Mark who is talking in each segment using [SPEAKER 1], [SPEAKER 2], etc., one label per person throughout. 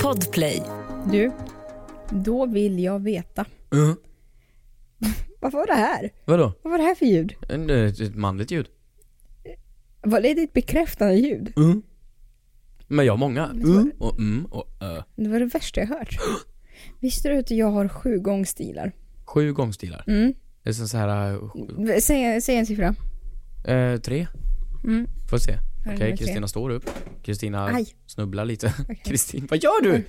[SPEAKER 1] Podplay.
[SPEAKER 2] Du, då vill jag veta.
[SPEAKER 3] Uh,
[SPEAKER 2] Vad var det här?
[SPEAKER 3] vadå?
[SPEAKER 2] Vad var det här för ljud?
[SPEAKER 3] En, eh, Ett manligt ljud?
[SPEAKER 2] Var det ett bekräftande ljud?
[SPEAKER 3] Uh. Men jag har många. Uh,
[SPEAKER 2] tror-
[SPEAKER 3] och mm och ö.
[SPEAKER 2] Det var det värsta jag hört. Visste du att jag har sju gångstilar?
[SPEAKER 3] Sju gångstilar.
[SPEAKER 2] Mm.
[SPEAKER 3] Det är som så här eh, sju-
[SPEAKER 2] Säg, säg en siffra.
[SPEAKER 3] Eh, tre.
[SPEAKER 2] Mm.
[SPEAKER 3] Får se.
[SPEAKER 2] Här är
[SPEAKER 3] Okej,
[SPEAKER 2] nummer tre.
[SPEAKER 3] Kristina står upp. Kristina
[SPEAKER 2] Aj.
[SPEAKER 3] snubblar lite. Kristin, vad gör du?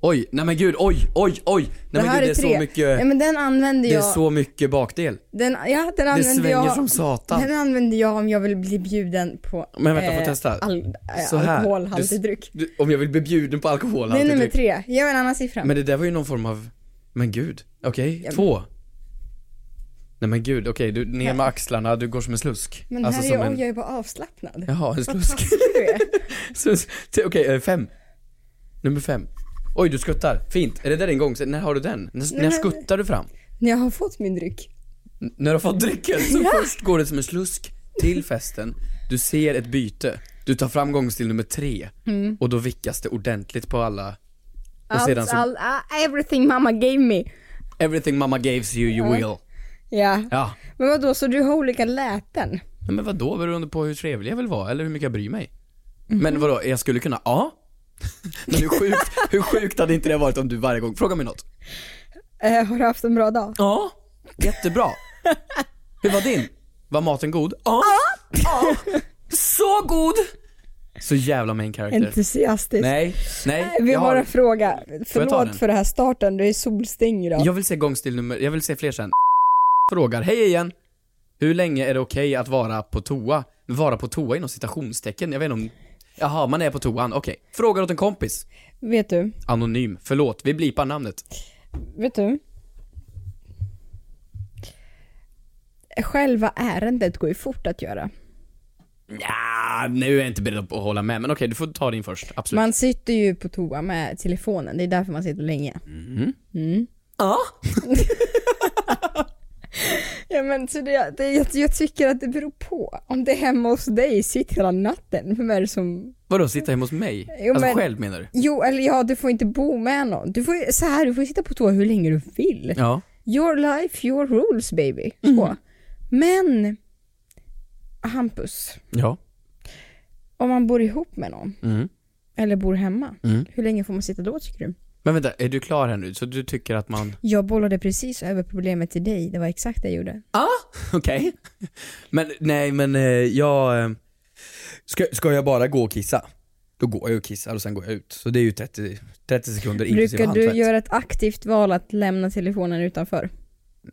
[SPEAKER 3] Oj, nej men gud, oj, oj, oj. Nej
[SPEAKER 2] Det
[SPEAKER 3] men
[SPEAKER 2] här
[SPEAKER 3] gud, det
[SPEAKER 2] är
[SPEAKER 3] är
[SPEAKER 2] tre.
[SPEAKER 3] så mycket,
[SPEAKER 2] Ja, men den använder
[SPEAKER 3] Eh, det är
[SPEAKER 2] jag.
[SPEAKER 3] så mycket bakdel.
[SPEAKER 2] Den, ja, den
[SPEAKER 3] Det
[SPEAKER 2] använder
[SPEAKER 3] svänger
[SPEAKER 2] jag.
[SPEAKER 3] som satan.
[SPEAKER 2] Den använder jag om jag vill bli bjuden på
[SPEAKER 3] Men vänta, får jag testa?
[SPEAKER 2] Al, eh,
[SPEAKER 3] Så här.
[SPEAKER 2] alkoholhaltig
[SPEAKER 3] Du-
[SPEAKER 2] dryck.
[SPEAKER 3] Du, om jag vill bli bjuden på alkohol
[SPEAKER 2] Det är
[SPEAKER 3] alltid
[SPEAKER 2] nummer
[SPEAKER 3] typ.
[SPEAKER 2] tre. Ge mig en annan siffra.
[SPEAKER 3] Men det där var ju någon form av, men gud, okej,
[SPEAKER 2] Ja, men-
[SPEAKER 3] två. Nej men gud, okej, du ner med axlarna, du går som en slusk.
[SPEAKER 2] Men här är
[SPEAKER 3] alltså, som
[SPEAKER 2] jag,
[SPEAKER 3] en,
[SPEAKER 2] jag är bara avslappnad.
[SPEAKER 3] Jaha, en
[SPEAKER 2] Vad
[SPEAKER 3] slusk.
[SPEAKER 2] taskig du är.
[SPEAKER 3] Sus- te- Okej, eh, fem. Nummer fem. Oj, du skuttar. Fint. Är det där din gång? När har du den? När, när
[SPEAKER 2] men-
[SPEAKER 3] skuttar du fram?
[SPEAKER 2] När jag har fått min dryck.
[SPEAKER 3] N- när du har fått drycken. Så först går det som en slusk till festen. Du ser ett byte. Du tar fram gångstil nummer tre. Och då vickas det ordentligt på alla. Och sedan
[SPEAKER 2] Mm. Allt,
[SPEAKER 3] så,
[SPEAKER 2] all, ah, everything mamma gave me.
[SPEAKER 3] everything mama gives you, you will.
[SPEAKER 2] Ja.
[SPEAKER 3] Ja.
[SPEAKER 2] Men vadå, så du har olika läten?
[SPEAKER 3] Nej, men vadå, beroende på hur trevlig jag vill vara eller hur mycket jag bryr mig. Men vadå, jag skulle kunna, ja. Men hur sjukt, hur sjukt hade inte det varit om du varje gång, fråga mig något.
[SPEAKER 2] Eh, har du haft en bra dag?
[SPEAKER 3] Ja, jättebra. Hur var din? Var maten god? Ja. ja. Så god! Så jävla main character.
[SPEAKER 2] Entusiastisk. Eh,
[SPEAKER 3] Nej, nej.
[SPEAKER 2] Vi
[SPEAKER 3] Jag,
[SPEAKER 2] har bara en
[SPEAKER 3] har,
[SPEAKER 2] fråga.
[SPEAKER 3] ta
[SPEAKER 2] Förlåt
[SPEAKER 3] den?
[SPEAKER 2] för det här starten, du är solstäng idag.
[SPEAKER 3] jag vill se gångstil nummer, jag vill se fler sen. Frågar, hej igen. Hur länge är det okej att vara på toa? Vara på toa inom citationstecken, jag vet inte om... Jaha, man är på toan, okej. Frågar åt en kompis.
[SPEAKER 2] Vet du?
[SPEAKER 3] Anonym, förlåt, vi blipar namnet.
[SPEAKER 2] Vet du? Själva ärendet går ju fort att göra.
[SPEAKER 3] Nja, nu är jag inte beredd att hålla med, men okej, du får ta din först, absolut.
[SPEAKER 2] Man sitter ju på toa med telefonen, det är därför man sitter länge.
[SPEAKER 3] Ja.
[SPEAKER 2] Ja men så det, det, jag, jag tycker att det beror på. Om det är hemma hos dig, sitt hela natten. Vem är det som...
[SPEAKER 3] Vadå, sitta hemma hos mig?
[SPEAKER 2] Jo,
[SPEAKER 3] alltså
[SPEAKER 2] men-
[SPEAKER 3] själv menar du?
[SPEAKER 2] Jo, eller ja, du får inte bo med någon. Du får ju- så här, du får ju sitta på toa hur länge du vill.
[SPEAKER 3] Ja.
[SPEAKER 2] Your life, your rules baby. Så.
[SPEAKER 3] Mm.
[SPEAKER 2] Men, Hampus,
[SPEAKER 3] Ja.
[SPEAKER 2] om man bor ihop med någon,
[SPEAKER 3] Mm.
[SPEAKER 2] eller bor hemma,
[SPEAKER 3] Mm.
[SPEAKER 2] hur länge får man sitta då tycker du?
[SPEAKER 3] Men vänta, är du klar här nu? Så du tycker att man...
[SPEAKER 2] Jag bollade precis över problemet till dig, det var exakt det jag gjorde.
[SPEAKER 3] Okej. Men nej, men eh, jag... eh, Ska, ska jag bara gå och kissa? Då går jag och kissar och sen går jag ut. Så det är ju 30, 30 sekunder inklusive
[SPEAKER 2] Brukar du
[SPEAKER 3] handtvätt.
[SPEAKER 2] göra ett aktivt val att lämna telefonen utanför?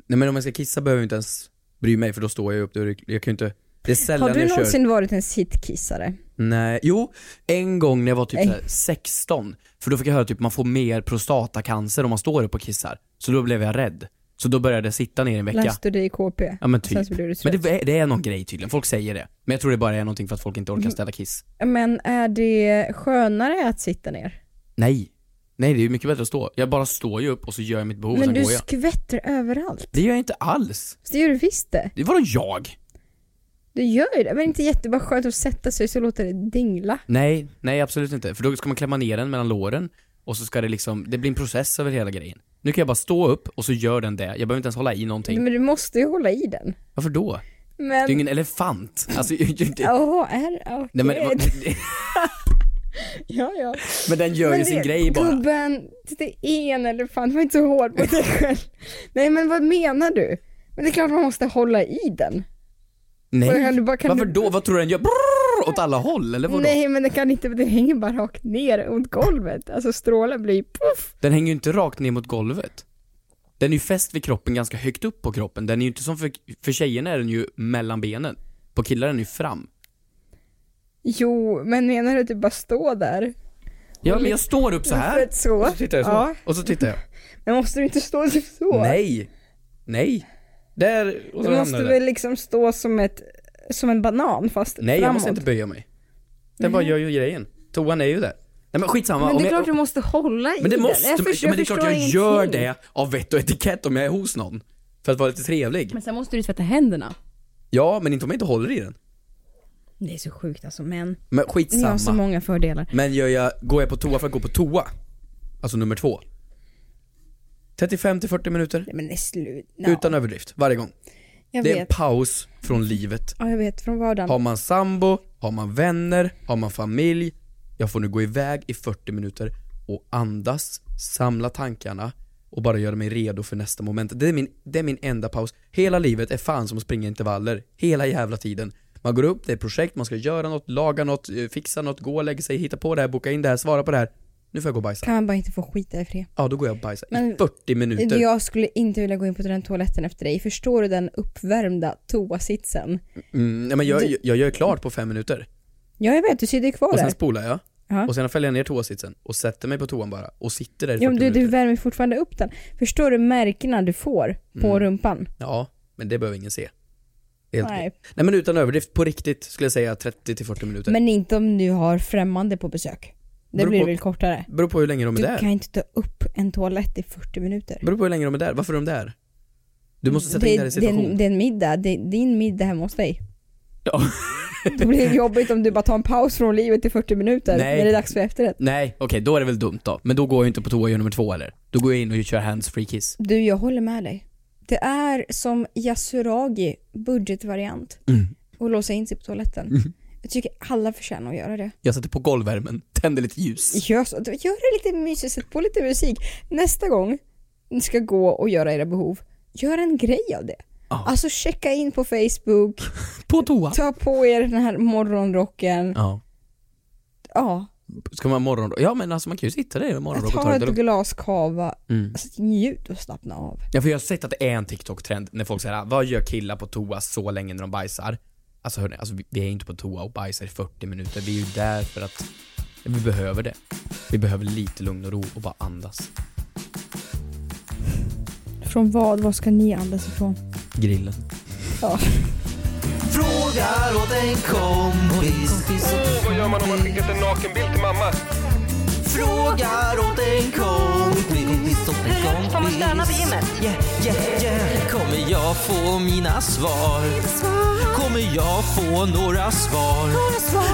[SPEAKER 3] Nej men om jag ska kissa behöver jag inte ens bry mig för då står jag upp. Då är det- Jag kan ju inte... Det är sällan
[SPEAKER 2] Har du
[SPEAKER 3] jag kör...
[SPEAKER 2] någonsin varit en sittkissare?
[SPEAKER 3] Nej, jo. En gång när jag var typ
[SPEAKER 2] Nej.
[SPEAKER 3] såhär 16. För då fick jag höra typ man får mer prostatacancer om man står upp och kissar. Så då blev jag rädd. Så då började jag sitta ner i en vecka.
[SPEAKER 2] Läste du det i KP?
[SPEAKER 3] Ja men
[SPEAKER 2] Sen
[SPEAKER 3] typ.
[SPEAKER 2] så blir du
[SPEAKER 3] Men det, det är någon grej tydligen, folk säger det. Men jag tror det bara är någonting för att folk inte
[SPEAKER 2] Mm.
[SPEAKER 3] orkar ställa kiss.
[SPEAKER 2] Men är det skönare att sitta ner?
[SPEAKER 3] Nej. Nej, det är ju mycket bättre att stå. Jag bara står ju upp och så gör jag mitt behov och
[SPEAKER 2] men
[SPEAKER 3] sen
[SPEAKER 2] du
[SPEAKER 3] går jag.
[SPEAKER 2] skvätter överallt.
[SPEAKER 3] Det gör jag inte alls.
[SPEAKER 2] Det gör du visst det.
[SPEAKER 3] Det var då jag?
[SPEAKER 2] Du gör ju det. Men inte jättebra skönt att sätta sig så låter det dingla.
[SPEAKER 3] Nej, nej absolut inte. För då ska man klämma ner den mellan låren och så ska det liksom, det blir en process över hela grejen. Nu kan jag bara stå upp och så gör den det. Jag behöver inte ens hålla i någonting.
[SPEAKER 2] Men du måste ju hålla i den.
[SPEAKER 3] Varför då? Det är ju
[SPEAKER 2] Men...
[SPEAKER 3] ingen elefant. Alltså, det, det,
[SPEAKER 2] Jaha, är okej.
[SPEAKER 3] nej, men, vad-
[SPEAKER 2] Ja, ja.
[SPEAKER 3] men den gör ju
[SPEAKER 2] Men
[SPEAKER 3] sin
[SPEAKER 2] det-
[SPEAKER 3] grej bara.
[SPEAKER 2] Gubben, det är en elefant. Var inte så hård mot dig själv. Nej, men vad menar du? Men det är klart man måste hålla i den. Vad kan
[SPEAKER 3] Nej.
[SPEAKER 2] du bara- kan
[SPEAKER 3] Varför
[SPEAKER 2] du-
[SPEAKER 3] då? Vad tror du den gör? Brrrr, åt alla håll eller vadå?
[SPEAKER 2] Nej, men det kan inte, det hänger bara rakt ner mot golvet. Alltså strålen blir puff.
[SPEAKER 3] Den hänger ju inte rakt ner mot golvet. Den är ju fäst vid kroppen, ganska högt upp på kroppen. Den är ju inte som för, för tjejerna är den ju mellan benen. På killar är den ju fram.
[SPEAKER 2] Jo, men menar du att du bara står där?
[SPEAKER 3] Ja men jag står upp så här.
[SPEAKER 2] Ett så?
[SPEAKER 3] Och så tittar jag så.
[SPEAKER 2] Ja.
[SPEAKER 3] Och så tittar jag.
[SPEAKER 2] Men måste du inte stå typ så?
[SPEAKER 3] Nej. Nej. Där och så
[SPEAKER 2] Du
[SPEAKER 3] hamnar
[SPEAKER 2] måste
[SPEAKER 3] den.
[SPEAKER 2] väl liksom stå som ett, som en banan fast
[SPEAKER 3] Nej jag
[SPEAKER 2] framåt.
[SPEAKER 3] måste inte böja mig. Den bara gör ju grejen. Toan är ju där. Nej men skitsamma.
[SPEAKER 2] Men
[SPEAKER 3] Om
[SPEAKER 2] det är
[SPEAKER 3] jag-
[SPEAKER 2] klart du måste hålla i
[SPEAKER 3] men det
[SPEAKER 2] den.
[SPEAKER 3] måste,
[SPEAKER 2] Jag
[SPEAKER 3] men,
[SPEAKER 2] förstår-
[SPEAKER 3] men det är
[SPEAKER 2] förstår
[SPEAKER 3] klart jag
[SPEAKER 2] ingenting.
[SPEAKER 3] gör det av vett och etikett om jag är hos någon. För att vara lite trevlig.
[SPEAKER 4] Men sen måste du tvätta händerna.
[SPEAKER 3] Ja, men inte om jag inte håller i den.
[SPEAKER 2] Det är så sjukt alltså, men
[SPEAKER 3] Men
[SPEAKER 2] ni
[SPEAKER 3] skitsamma.
[SPEAKER 2] har så många fördelar.
[SPEAKER 3] Men gör jag, går jag på toa för att gå på toa? Alltså nummer två. 35 till 40 minuter.
[SPEAKER 2] Nej men det är slut.
[SPEAKER 3] Utan överdrift, varje gång.
[SPEAKER 2] jag
[SPEAKER 3] det är en
[SPEAKER 2] vet.
[SPEAKER 3] paus från livet.
[SPEAKER 2] Ja, jag vet. Från vardagen.
[SPEAKER 3] Har man sambo, har man vänner, har man familj. Jag får nu gå iväg i 40 minuter och andas, samla tankarna och bara göra mig redo för nästa moment. Det är min, det är min enda paus. Hela livet är fan som att springa intervaller. Hela jävla tiden. Man går upp, det är projekt, man ska göra något, laga något, eh, fixa något, gå och lägga sig, hitta på det här, boka in det här, svara på det här. Nu får jag gå och bajsa.
[SPEAKER 2] Kan man bara inte få skita i fred.
[SPEAKER 3] Ja, då går jag och bajsar i
[SPEAKER 2] Men-
[SPEAKER 3] 40 minuter.
[SPEAKER 2] Jag skulle inte vilja gå in på den toaletten efter dig. Förstår du den uppvärmda toasitsen?
[SPEAKER 3] Mm, nej, men jag, jag, jag gör klart på fem minuter.
[SPEAKER 2] Ja, jag vet. Du sitter ju kvar
[SPEAKER 3] Och
[SPEAKER 2] där.
[SPEAKER 3] sen spolar jag.
[SPEAKER 2] Ja.
[SPEAKER 3] Och sen fäller jag ner toasitsen och sätter mig på toan bara och sitter där i 40
[SPEAKER 2] Ja, men du,
[SPEAKER 3] minuter.
[SPEAKER 2] du värmer fortfarande upp den. Förstår du märkena du får på
[SPEAKER 3] Mm.
[SPEAKER 2] rumpan?
[SPEAKER 3] Ja, men det behöver ingen se. Helt
[SPEAKER 2] Nej.
[SPEAKER 3] Nej. Nej men utan överdrift, på riktigt skulle jag säga 30 till 40 minuter.
[SPEAKER 2] Men inte om du har främmande på besök. Det
[SPEAKER 3] Typ. Beror
[SPEAKER 2] blir
[SPEAKER 3] på-
[SPEAKER 2] väl kortare?
[SPEAKER 3] Beror på hur länge de är
[SPEAKER 2] Du
[SPEAKER 3] där.
[SPEAKER 2] kan inte ta upp en toalett i 40 minuter.
[SPEAKER 3] Beror på hur länge de är där. Varför är de där? Du måste sätta in det här i
[SPEAKER 2] det, är en-
[SPEAKER 3] situation.
[SPEAKER 2] det är en middag, det är din middag hemma hos dig.
[SPEAKER 3] Ja.
[SPEAKER 2] Då blir det jobbigt om du bara tar en paus från livet i 40 minuter
[SPEAKER 3] Nej.
[SPEAKER 2] när det är dags för efterrätt.
[SPEAKER 3] Nej, okej då är det väl dumt då. Men då går jag ju inte på toa och gör nummer två eller? Då går jag in och kör hands-free kiss.
[SPEAKER 2] Du, jag håller med dig. Det är som Yasuragi budgetvariant
[SPEAKER 3] Mm.
[SPEAKER 2] och låsa in sig på toaletten. Jag tycker alla förtjänar att göra det.
[SPEAKER 3] Jag sätter på golvvärmen, tänder lite ljus.
[SPEAKER 2] Gör, så, gör det lite mysigt, sätt på lite musik. Nästa gång ni ska gå och göra era behov, gör en grej av det.
[SPEAKER 3] Ja.
[SPEAKER 2] Alltså checka in på Facebook,
[SPEAKER 3] På toa.
[SPEAKER 2] ta på er den här morgonrocken.
[SPEAKER 3] Ja.
[SPEAKER 2] Ja,
[SPEAKER 3] Ska man morgon... Ja men alltså man kan ju sitta där i morgonrock och
[SPEAKER 2] ta
[SPEAKER 3] ta
[SPEAKER 2] ett
[SPEAKER 3] det lugnt.
[SPEAKER 2] glas cava,
[SPEAKER 3] Mm.
[SPEAKER 2] alltså, njut och slappna av.
[SPEAKER 3] Ja för jag har sett att det är en TikTok-trend när folk säger ah, vad gör killar på toa så länge när de bajsar? Alltså hörni, alltså, vi- vi är ju inte på toa och bajsar i 40 minuter, vi är ju där för att vi behöver det. Vi behöver lite lugn och ro och bara andas.
[SPEAKER 2] Från vad? Vad ska ni andas ifrån?
[SPEAKER 3] Grillen.
[SPEAKER 2] Ja.
[SPEAKER 1] Frågar åt en kompis.
[SPEAKER 4] Åh, Oh, vad gör man om man skickat en nakenbild till mamma?
[SPEAKER 1] Frågar åt en kompis.
[SPEAKER 5] Hur högt får man stöna på gymmet?
[SPEAKER 1] Yeah, yeah, yeah. Kommer jag få mina svar? Kommer jag få några svar?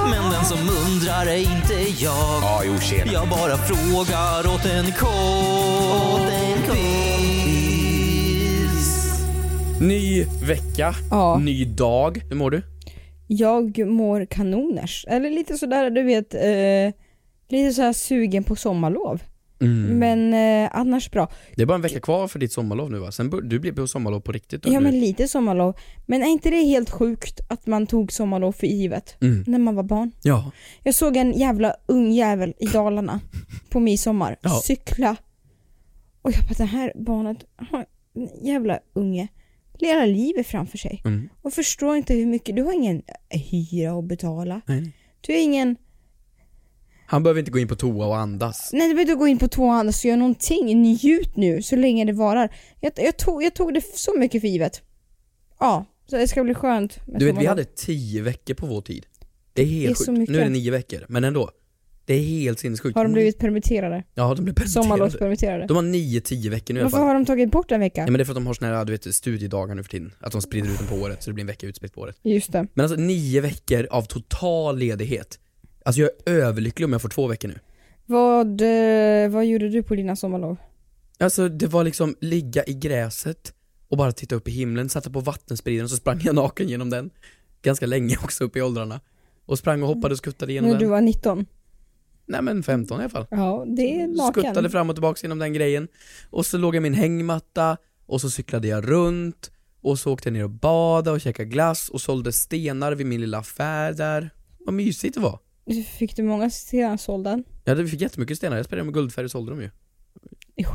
[SPEAKER 1] Men den som undrar är inte jag.
[SPEAKER 4] Ja, jo, tjena.
[SPEAKER 1] Jag bara frågar åt en kompis.
[SPEAKER 3] Ny vecka,
[SPEAKER 2] Ja.
[SPEAKER 3] ny dag. Hur mår du?
[SPEAKER 2] Jag mår kanoners, eller lite sådär du vet, eh, lite såhär sugen på sommarlov.
[SPEAKER 3] Mm.
[SPEAKER 2] Men eh, annars bra.
[SPEAKER 3] Det är bara en vecka kvar för ditt sommarlov nu va? Sen bör- du blir på sommarlov på riktigt då,
[SPEAKER 2] Ja
[SPEAKER 3] nu.
[SPEAKER 2] men lite sommarlov. Men är inte det helt sjukt att man tog sommarlov för givet?
[SPEAKER 3] Mm.
[SPEAKER 2] När man var barn.
[SPEAKER 3] Ja.
[SPEAKER 2] Jag såg en jävla ung jävel i Dalarna på midsommar
[SPEAKER 3] Ja.
[SPEAKER 2] cykla. Och jag bara det här barnet, har en jävla unge, hela livet framför sig.
[SPEAKER 3] Mm.
[SPEAKER 2] Och förstår inte hur mycket, du har ingen hyra att betala.
[SPEAKER 3] Nej, nej.
[SPEAKER 2] Du har ingen,
[SPEAKER 3] Han behöver inte gå in på toa och andas.
[SPEAKER 2] nej du behöver inte gå in på två andra så gör någonting, njut nu så länge det varar. Jag, jag, tog, jag tog det så mycket för givet. Ja, så det ska bli skönt. med
[SPEAKER 3] Du vet, vi
[SPEAKER 2] sommarlov.
[SPEAKER 3] hade tio veckor på vår tid. Det är helt
[SPEAKER 2] är så
[SPEAKER 3] sjukt.
[SPEAKER 2] mycket.
[SPEAKER 3] Nu är det nio veckor, men ändå. Det är helt sinnessjukt.
[SPEAKER 2] Har de blivit permitterade?
[SPEAKER 3] Ja, de blir permitterade.
[SPEAKER 2] Sommarlovspermitterade?
[SPEAKER 3] De har 9-10 veckor nu i alla
[SPEAKER 2] Varför
[SPEAKER 3] fall.
[SPEAKER 2] har de tagit bort en vecka?
[SPEAKER 3] Ja, men det är för att de har såna här, du vet, studiedagar nu för tiden. Att de sprider ut dem på året, så det blir en vecka utspritt på året.
[SPEAKER 2] Just det.
[SPEAKER 3] Men alltså nio veckor av total ledighet. Alltså jag är överlycklig om jag får två veckor nu.
[SPEAKER 2] Vad, eh, vad gjorde du på dina sommarlov?
[SPEAKER 3] Alltså det var liksom ligga i gräset och bara titta upp i himlen, satte på vattenspridaren och så sprang jag naken genom den. Ganska länge också upp i åldrarna. Och sprang och hoppade och skuttade genom
[SPEAKER 2] När du
[SPEAKER 3] den.
[SPEAKER 2] var 19?
[SPEAKER 3] Nej men 15 i alla fall.
[SPEAKER 2] Ja, det är naken.
[SPEAKER 3] Skuttade fram och tillbaka inom den grejen. Och så låg jag i min hängmatta och så cyklade jag runt och så åkte jag ner och badade och käkade glass och sålde stenar vid min lilla affär där. Vad mysigt det var.
[SPEAKER 2] Fick du många stenar sålda?
[SPEAKER 3] Ja, det- vi fick jättemycket stenar. Jag spelade med guldfärg och sålde dem ju.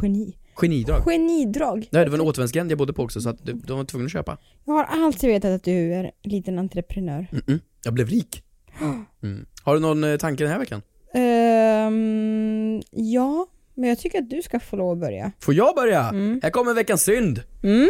[SPEAKER 2] Geni.
[SPEAKER 3] Genidrag.
[SPEAKER 2] Genidrag.
[SPEAKER 3] Nej, det var en återvändsgränd jag bodde på också så att det- de var tvungna att köpa.
[SPEAKER 2] Jag har alltid vetat att du är en liten entreprenör.
[SPEAKER 3] Mm-mm. Jag blev rik. Mm. Har du någon eh, tanke den här veckan?
[SPEAKER 2] Ehm, ja, men jag tycker att du ska få lov att börja.
[SPEAKER 3] Får jag börja?
[SPEAKER 2] Mm.
[SPEAKER 3] Här kommer veckans synd.
[SPEAKER 2] Mm.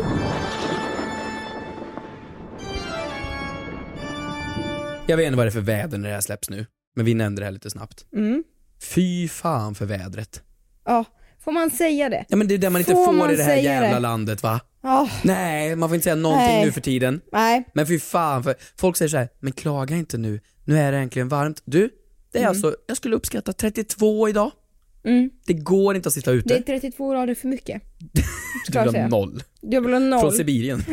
[SPEAKER 3] Jag vet inte vad det är för väder när det här släpps nu, men vi nämnde det här lite snabbt.
[SPEAKER 2] Mm.
[SPEAKER 3] Fy fan för vädret.
[SPEAKER 2] Ja, får man säga det?
[SPEAKER 3] Ja men det är det man inte
[SPEAKER 2] Får
[SPEAKER 3] får,
[SPEAKER 2] man
[SPEAKER 3] i det här
[SPEAKER 2] säga
[SPEAKER 3] jävla
[SPEAKER 2] det?
[SPEAKER 3] landet va?
[SPEAKER 2] Ja,
[SPEAKER 3] Nej, man får inte säga någonting
[SPEAKER 2] Nej.
[SPEAKER 3] nu för tiden.
[SPEAKER 2] nej.
[SPEAKER 3] Men fy fan, för folk säger så här, men klaga inte nu, nu är det äntligen varmt. Du, det är alltså, jag skulle uppskatta 32 idag.
[SPEAKER 2] Mm.
[SPEAKER 3] Det går inte att sitta ute.
[SPEAKER 2] Det är 32 grader för mycket.
[SPEAKER 3] du
[SPEAKER 2] klart
[SPEAKER 3] vill
[SPEAKER 2] det.
[SPEAKER 3] ha noll.
[SPEAKER 2] Jag vill ha noll.
[SPEAKER 3] Från Sibirien.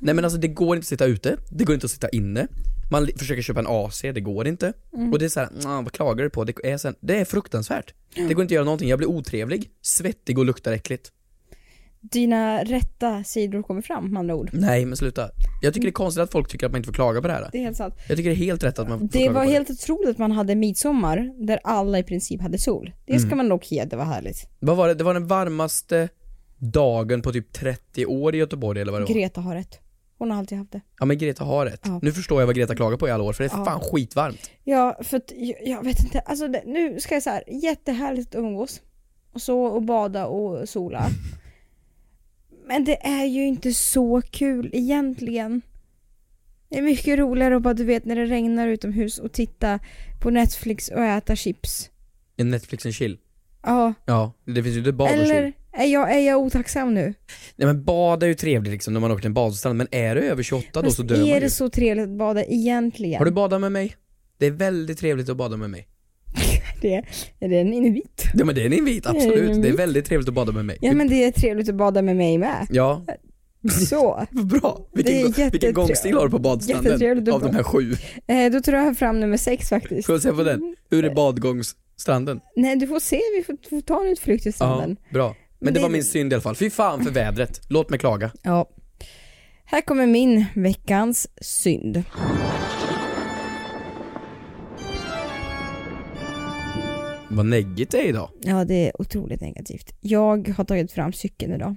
[SPEAKER 3] Nej men alltså det går inte att sitta ute, det går inte att sitta inne. Man li- försöker köpa en AC, det går inte.
[SPEAKER 2] Mm.
[SPEAKER 3] Och det är såhär, "Nå, vad klagar du på? Det är, så här, det är fruktansvärt. Det går inte att göra någonting, jag blir otrevlig, svettig och luktar äckligt.
[SPEAKER 2] Dina rätta sidor kommer fram med andra ord.
[SPEAKER 3] Nej men sluta. Jag
[SPEAKER 2] Mm.
[SPEAKER 3] tycker det är konstigt att folk tycker att man inte får klaga på det här.
[SPEAKER 2] Det är helt sant.
[SPEAKER 3] Jag tycker det är helt rätt att man får
[SPEAKER 2] Det
[SPEAKER 3] klaga
[SPEAKER 2] var
[SPEAKER 3] på
[SPEAKER 2] helt otroligt att man hade midsommar där alla i princip hade sol. Det
[SPEAKER 3] Mm.
[SPEAKER 2] ska man dock ge, det var härligt.
[SPEAKER 3] det. Vad var det? Det var den varmaste dagen på typ 30 år i Göteborg eller vad det var?
[SPEAKER 2] Greta har rätt. Hon har alltid haft det.
[SPEAKER 3] ja men Greta har rätt.
[SPEAKER 2] Ja.
[SPEAKER 3] Nu förstår jag vad Greta klagar på i alla år, för det är
[SPEAKER 2] Ja.
[SPEAKER 3] fan skitvarmt.
[SPEAKER 2] Ja, för att jag, jag vet inte, alltså det, nu ska jag så här, jättehärligt att umgås. Och så och bada och sola. Men det är ju inte så kul egentligen. Det är mycket roligare att bara du vet när det regnar utomhus och titta på Netflix och äta chips.
[SPEAKER 3] En Netflix and chill.
[SPEAKER 2] Ja,
[SPEAKER 3] Ja, det finns ju inte bad och chill.
[SPEAKER 2] eller är jag, är jag otacksam nu?
[SPEAKER 3] Nej men bad är ju trevligt liksom när man åker till en badstrand, men är du över 28 då
[SPEAKER 2] Fast
[SPEAKER 3] så dör man
[SPEAKER 2] är
[SPEAKER 3] ju.
[SPEAKER 2] det så trevligt att bada egentligen?
[SPEAKER 3] Har du badat med mig? Det är väldigt trevligt att bada med mig.
[SPEAKER 2] det? Är det en inuit?
[SPEAKER 3] Ja men det är en invit, absolut.
[SPEAKER 2] en
[SPEAKER 3] Det är
[SPEAKER 2] invit.
[SPEAKER 3] väldigt trevligt att bada med mig.
[SPEAKER 2] Ja men det är trevligt att bada med mig med.
[SPEAKER 3] Ja,
[SPEAKER 2] Så.
[SPEAKER 3] vad bra.
[SPEAKER 2] Det är
[SPEAKER 3] Vilken,
[SPEAKER 2] jättetrevligt.
[SPEAKER 3] vilken gångstil har du på badstranden
[SPEAKER 2] Jättetrevligt att
[SPEAKER 3] av de här sju?
[SPEAKER 2] Eh, då tror jag fram nummer sex faktiskt.
[SPEAKER 3] Får jag se på den? Hur
[SPEAKER 2] Eh.
[SPEAKER 3] är badgångsstranden?
[SPEAKER 2] Nej du får se, vi får, får ta en utflykt till
[SPEAKER 3] Ja,
[SPEAKER 2] stranden.
[SPEAKER 3] bra. Men
[SPEAKER 2] Men
[SPEAKER 3] det
[SPEAKER 2] det-
[SPEAKER 3] var min synd i alla fall. Fy fan för vädret. Låt mig klaga.
[SPEAKER 2] Ja. Här kommer min veckans synd.
[SPEAKER 3] Vad neggigt det är idag.
[SPEAKER 2] Ja det är otroligt negativt. Jag har tagit fram cykeln idag.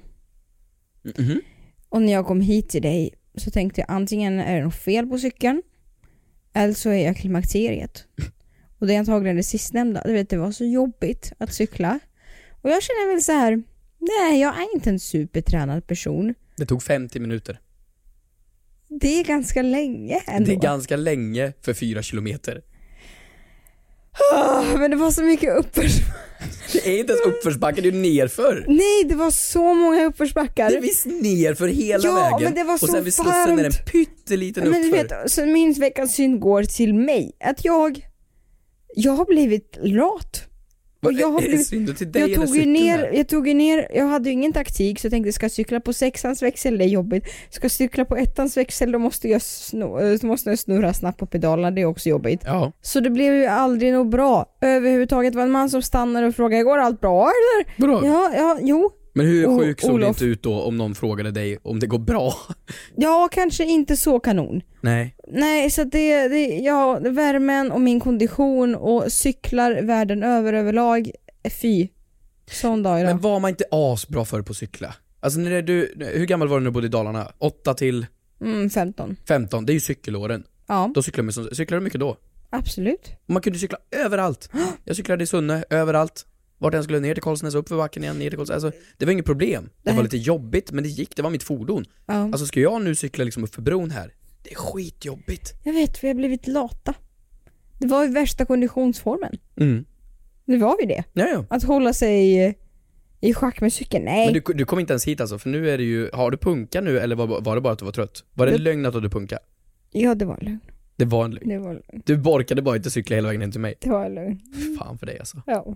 [SPEAKER 2] Mm-hmm.
[SPEAKER 3] Mhm.
[SPEAKER 2] Och när jag kom hit till dig så tänkte jag antingen är det något fel på cykeln eller så är jag klimakteriet. Och det är antagligen det sistnämnda. Du vet, det var så jobbigt att cykla. Och jag känner väl så här, nej jag är inte en supertränad person.
[SPEAKER 3] Det tog 50 minuter.
[SPEAKER 2] Det är ganska länge ändå.
[SPEAKER 3] Det är ganska länge för fyra kilometer.
[SPEAKER 2] Ah, men det var så mycket uppförs...
[SPEAKER 3] Det är inte ens uppförsbacke, det är ju nerför.
[SPEAKER 2] Nej, det var så många uppförsbackar.
[SPEAKER 3] Det är visst ner för hela
[SPEAKER 2] Ja,
[SPEAKER 3] vägen
[SPEAKER 2] men det var
[SPEAKER 3] och
[SPEAKER 2] så
[SPEAKER 3] sen vid slussen är det en
[SPEAKER 2] varmt.
[SPEAKER 3] pytteliten
[SPEAKER 2] Men du
[SPEAKER 3] uppför.
[SPEAKER 2] vet, så min veckans synd går till mig. Att jag, jag har blivit lat.
[SPEAKER 3] Vad-
[SPEAKER 2] och jag har
[SPEAKER 3] är det
[SPEAKER 2] blivit-
[SPEAKER 3] synd till dig
[SPEAKER 2] Jag
[SPEAKER 3] eller
[SPEAKER 2] tog, ju
[SPEAKER 3] cykeln
[SPEAKER 2] ner,
[SPEAKER 3] här?
[SPEAKER 2] jag tog ju ner, jag hade ju ingen taktik så jag tänkte ska jag cykla på sexans växel, det är jobbigt. Ska jag cykla på ettans växel då måste jag, sno, eh, då måste jag snurra snabbt på pedalerna, det är också jobbigt.
[SPEAKER 3] Ja,
[SPEAKER 2] Så det blev ju aldrig något bra överhuvudtaget. Det var en man som stannade och frågade går allt bra eller?
[SPEAKER 3] bra.
[SPEAKER 2] Ja, ja, jo.
[SPEAKER 3] Men hur
[SPEAKER 2] O-
[SPEAKER 3] sjuk såg det
[SPEAKER 2] Olof.
[SPEAKER 3] inte ut då om någon frågade dig om det går bra?
[SPEAKER 2] Ja, kanske inte så kanon.
[SPEAKER 3] Nej.
[SPEAKER 2] Nej, så att det, det, ja, värmen och min kondition och cyklar världen över överlag, eh, fy. Sån dag idag.
[SPEAKER 3] Men var man inte asbra för på att cykla? Alltså när du, hur gammal var du när du bodde i Dalarna? 8 till
[SPEAKER 2] Mm, 15.
[SPEAKER 3] 15, det är ju cykelåren.
[SPEAKER 2] Ja,
[SPEAKER 3] Då cyklar man som, cyklade du mycket då?
[SPEAKER 2] absolut.
[SPEAKER 3] Och Man kunde cykla överallt. Jag cyklade i Sunne, överallt. Vart jag skulle, ner till Karlsnäs, upp för backen igen, ner till Karlsnäs. Alltså, det var inget problem. Det
[SPEAKER 2] Nej.
[SPEAKER 3] var
[SPEAKER 2] Mm.
[SPEAKER 3] lite jobbigt, men det gick, det var mitt fordon.
[SPEAKER 2] Ja.
[SPEAKER 3] Alltså ska jag nu cykla liksom upp för bron här? Det är skitjobbigt.
[SPEAKER 2] Jag vet, vi har blivit lata. Det var ju värsta konditionsformen.
[SPEAKER 3] Mm.
[SPEAKER 2] Det var ju det.
[SPEAKER 3] Ja, ja.
[SPEAKER 2] Att hålla sig eh, i schack med cykeln, nej.
[SPEAKER 3] Men du, du kom inte ens hit alltså, för nu är det ju, har du punka nu eller var, var det bara att du var trött? Var det,
[SPEAKER 2] Det-
[SPEAKER 3] lögn att du hade punka?
[SPEAKER 2] Ja, det var lugn.
[SPEAKER 3] Det var en lögn.
[SPEAKER 2] Det var lugn.
[SPEAKER 3] Du orkade bara inte cykla hela vägen hem till mig.
[SPEAKER 2] Det var lugn.
[SPEAKER 3] Fan för dig alltså.
[SPEAKER 2] Ja.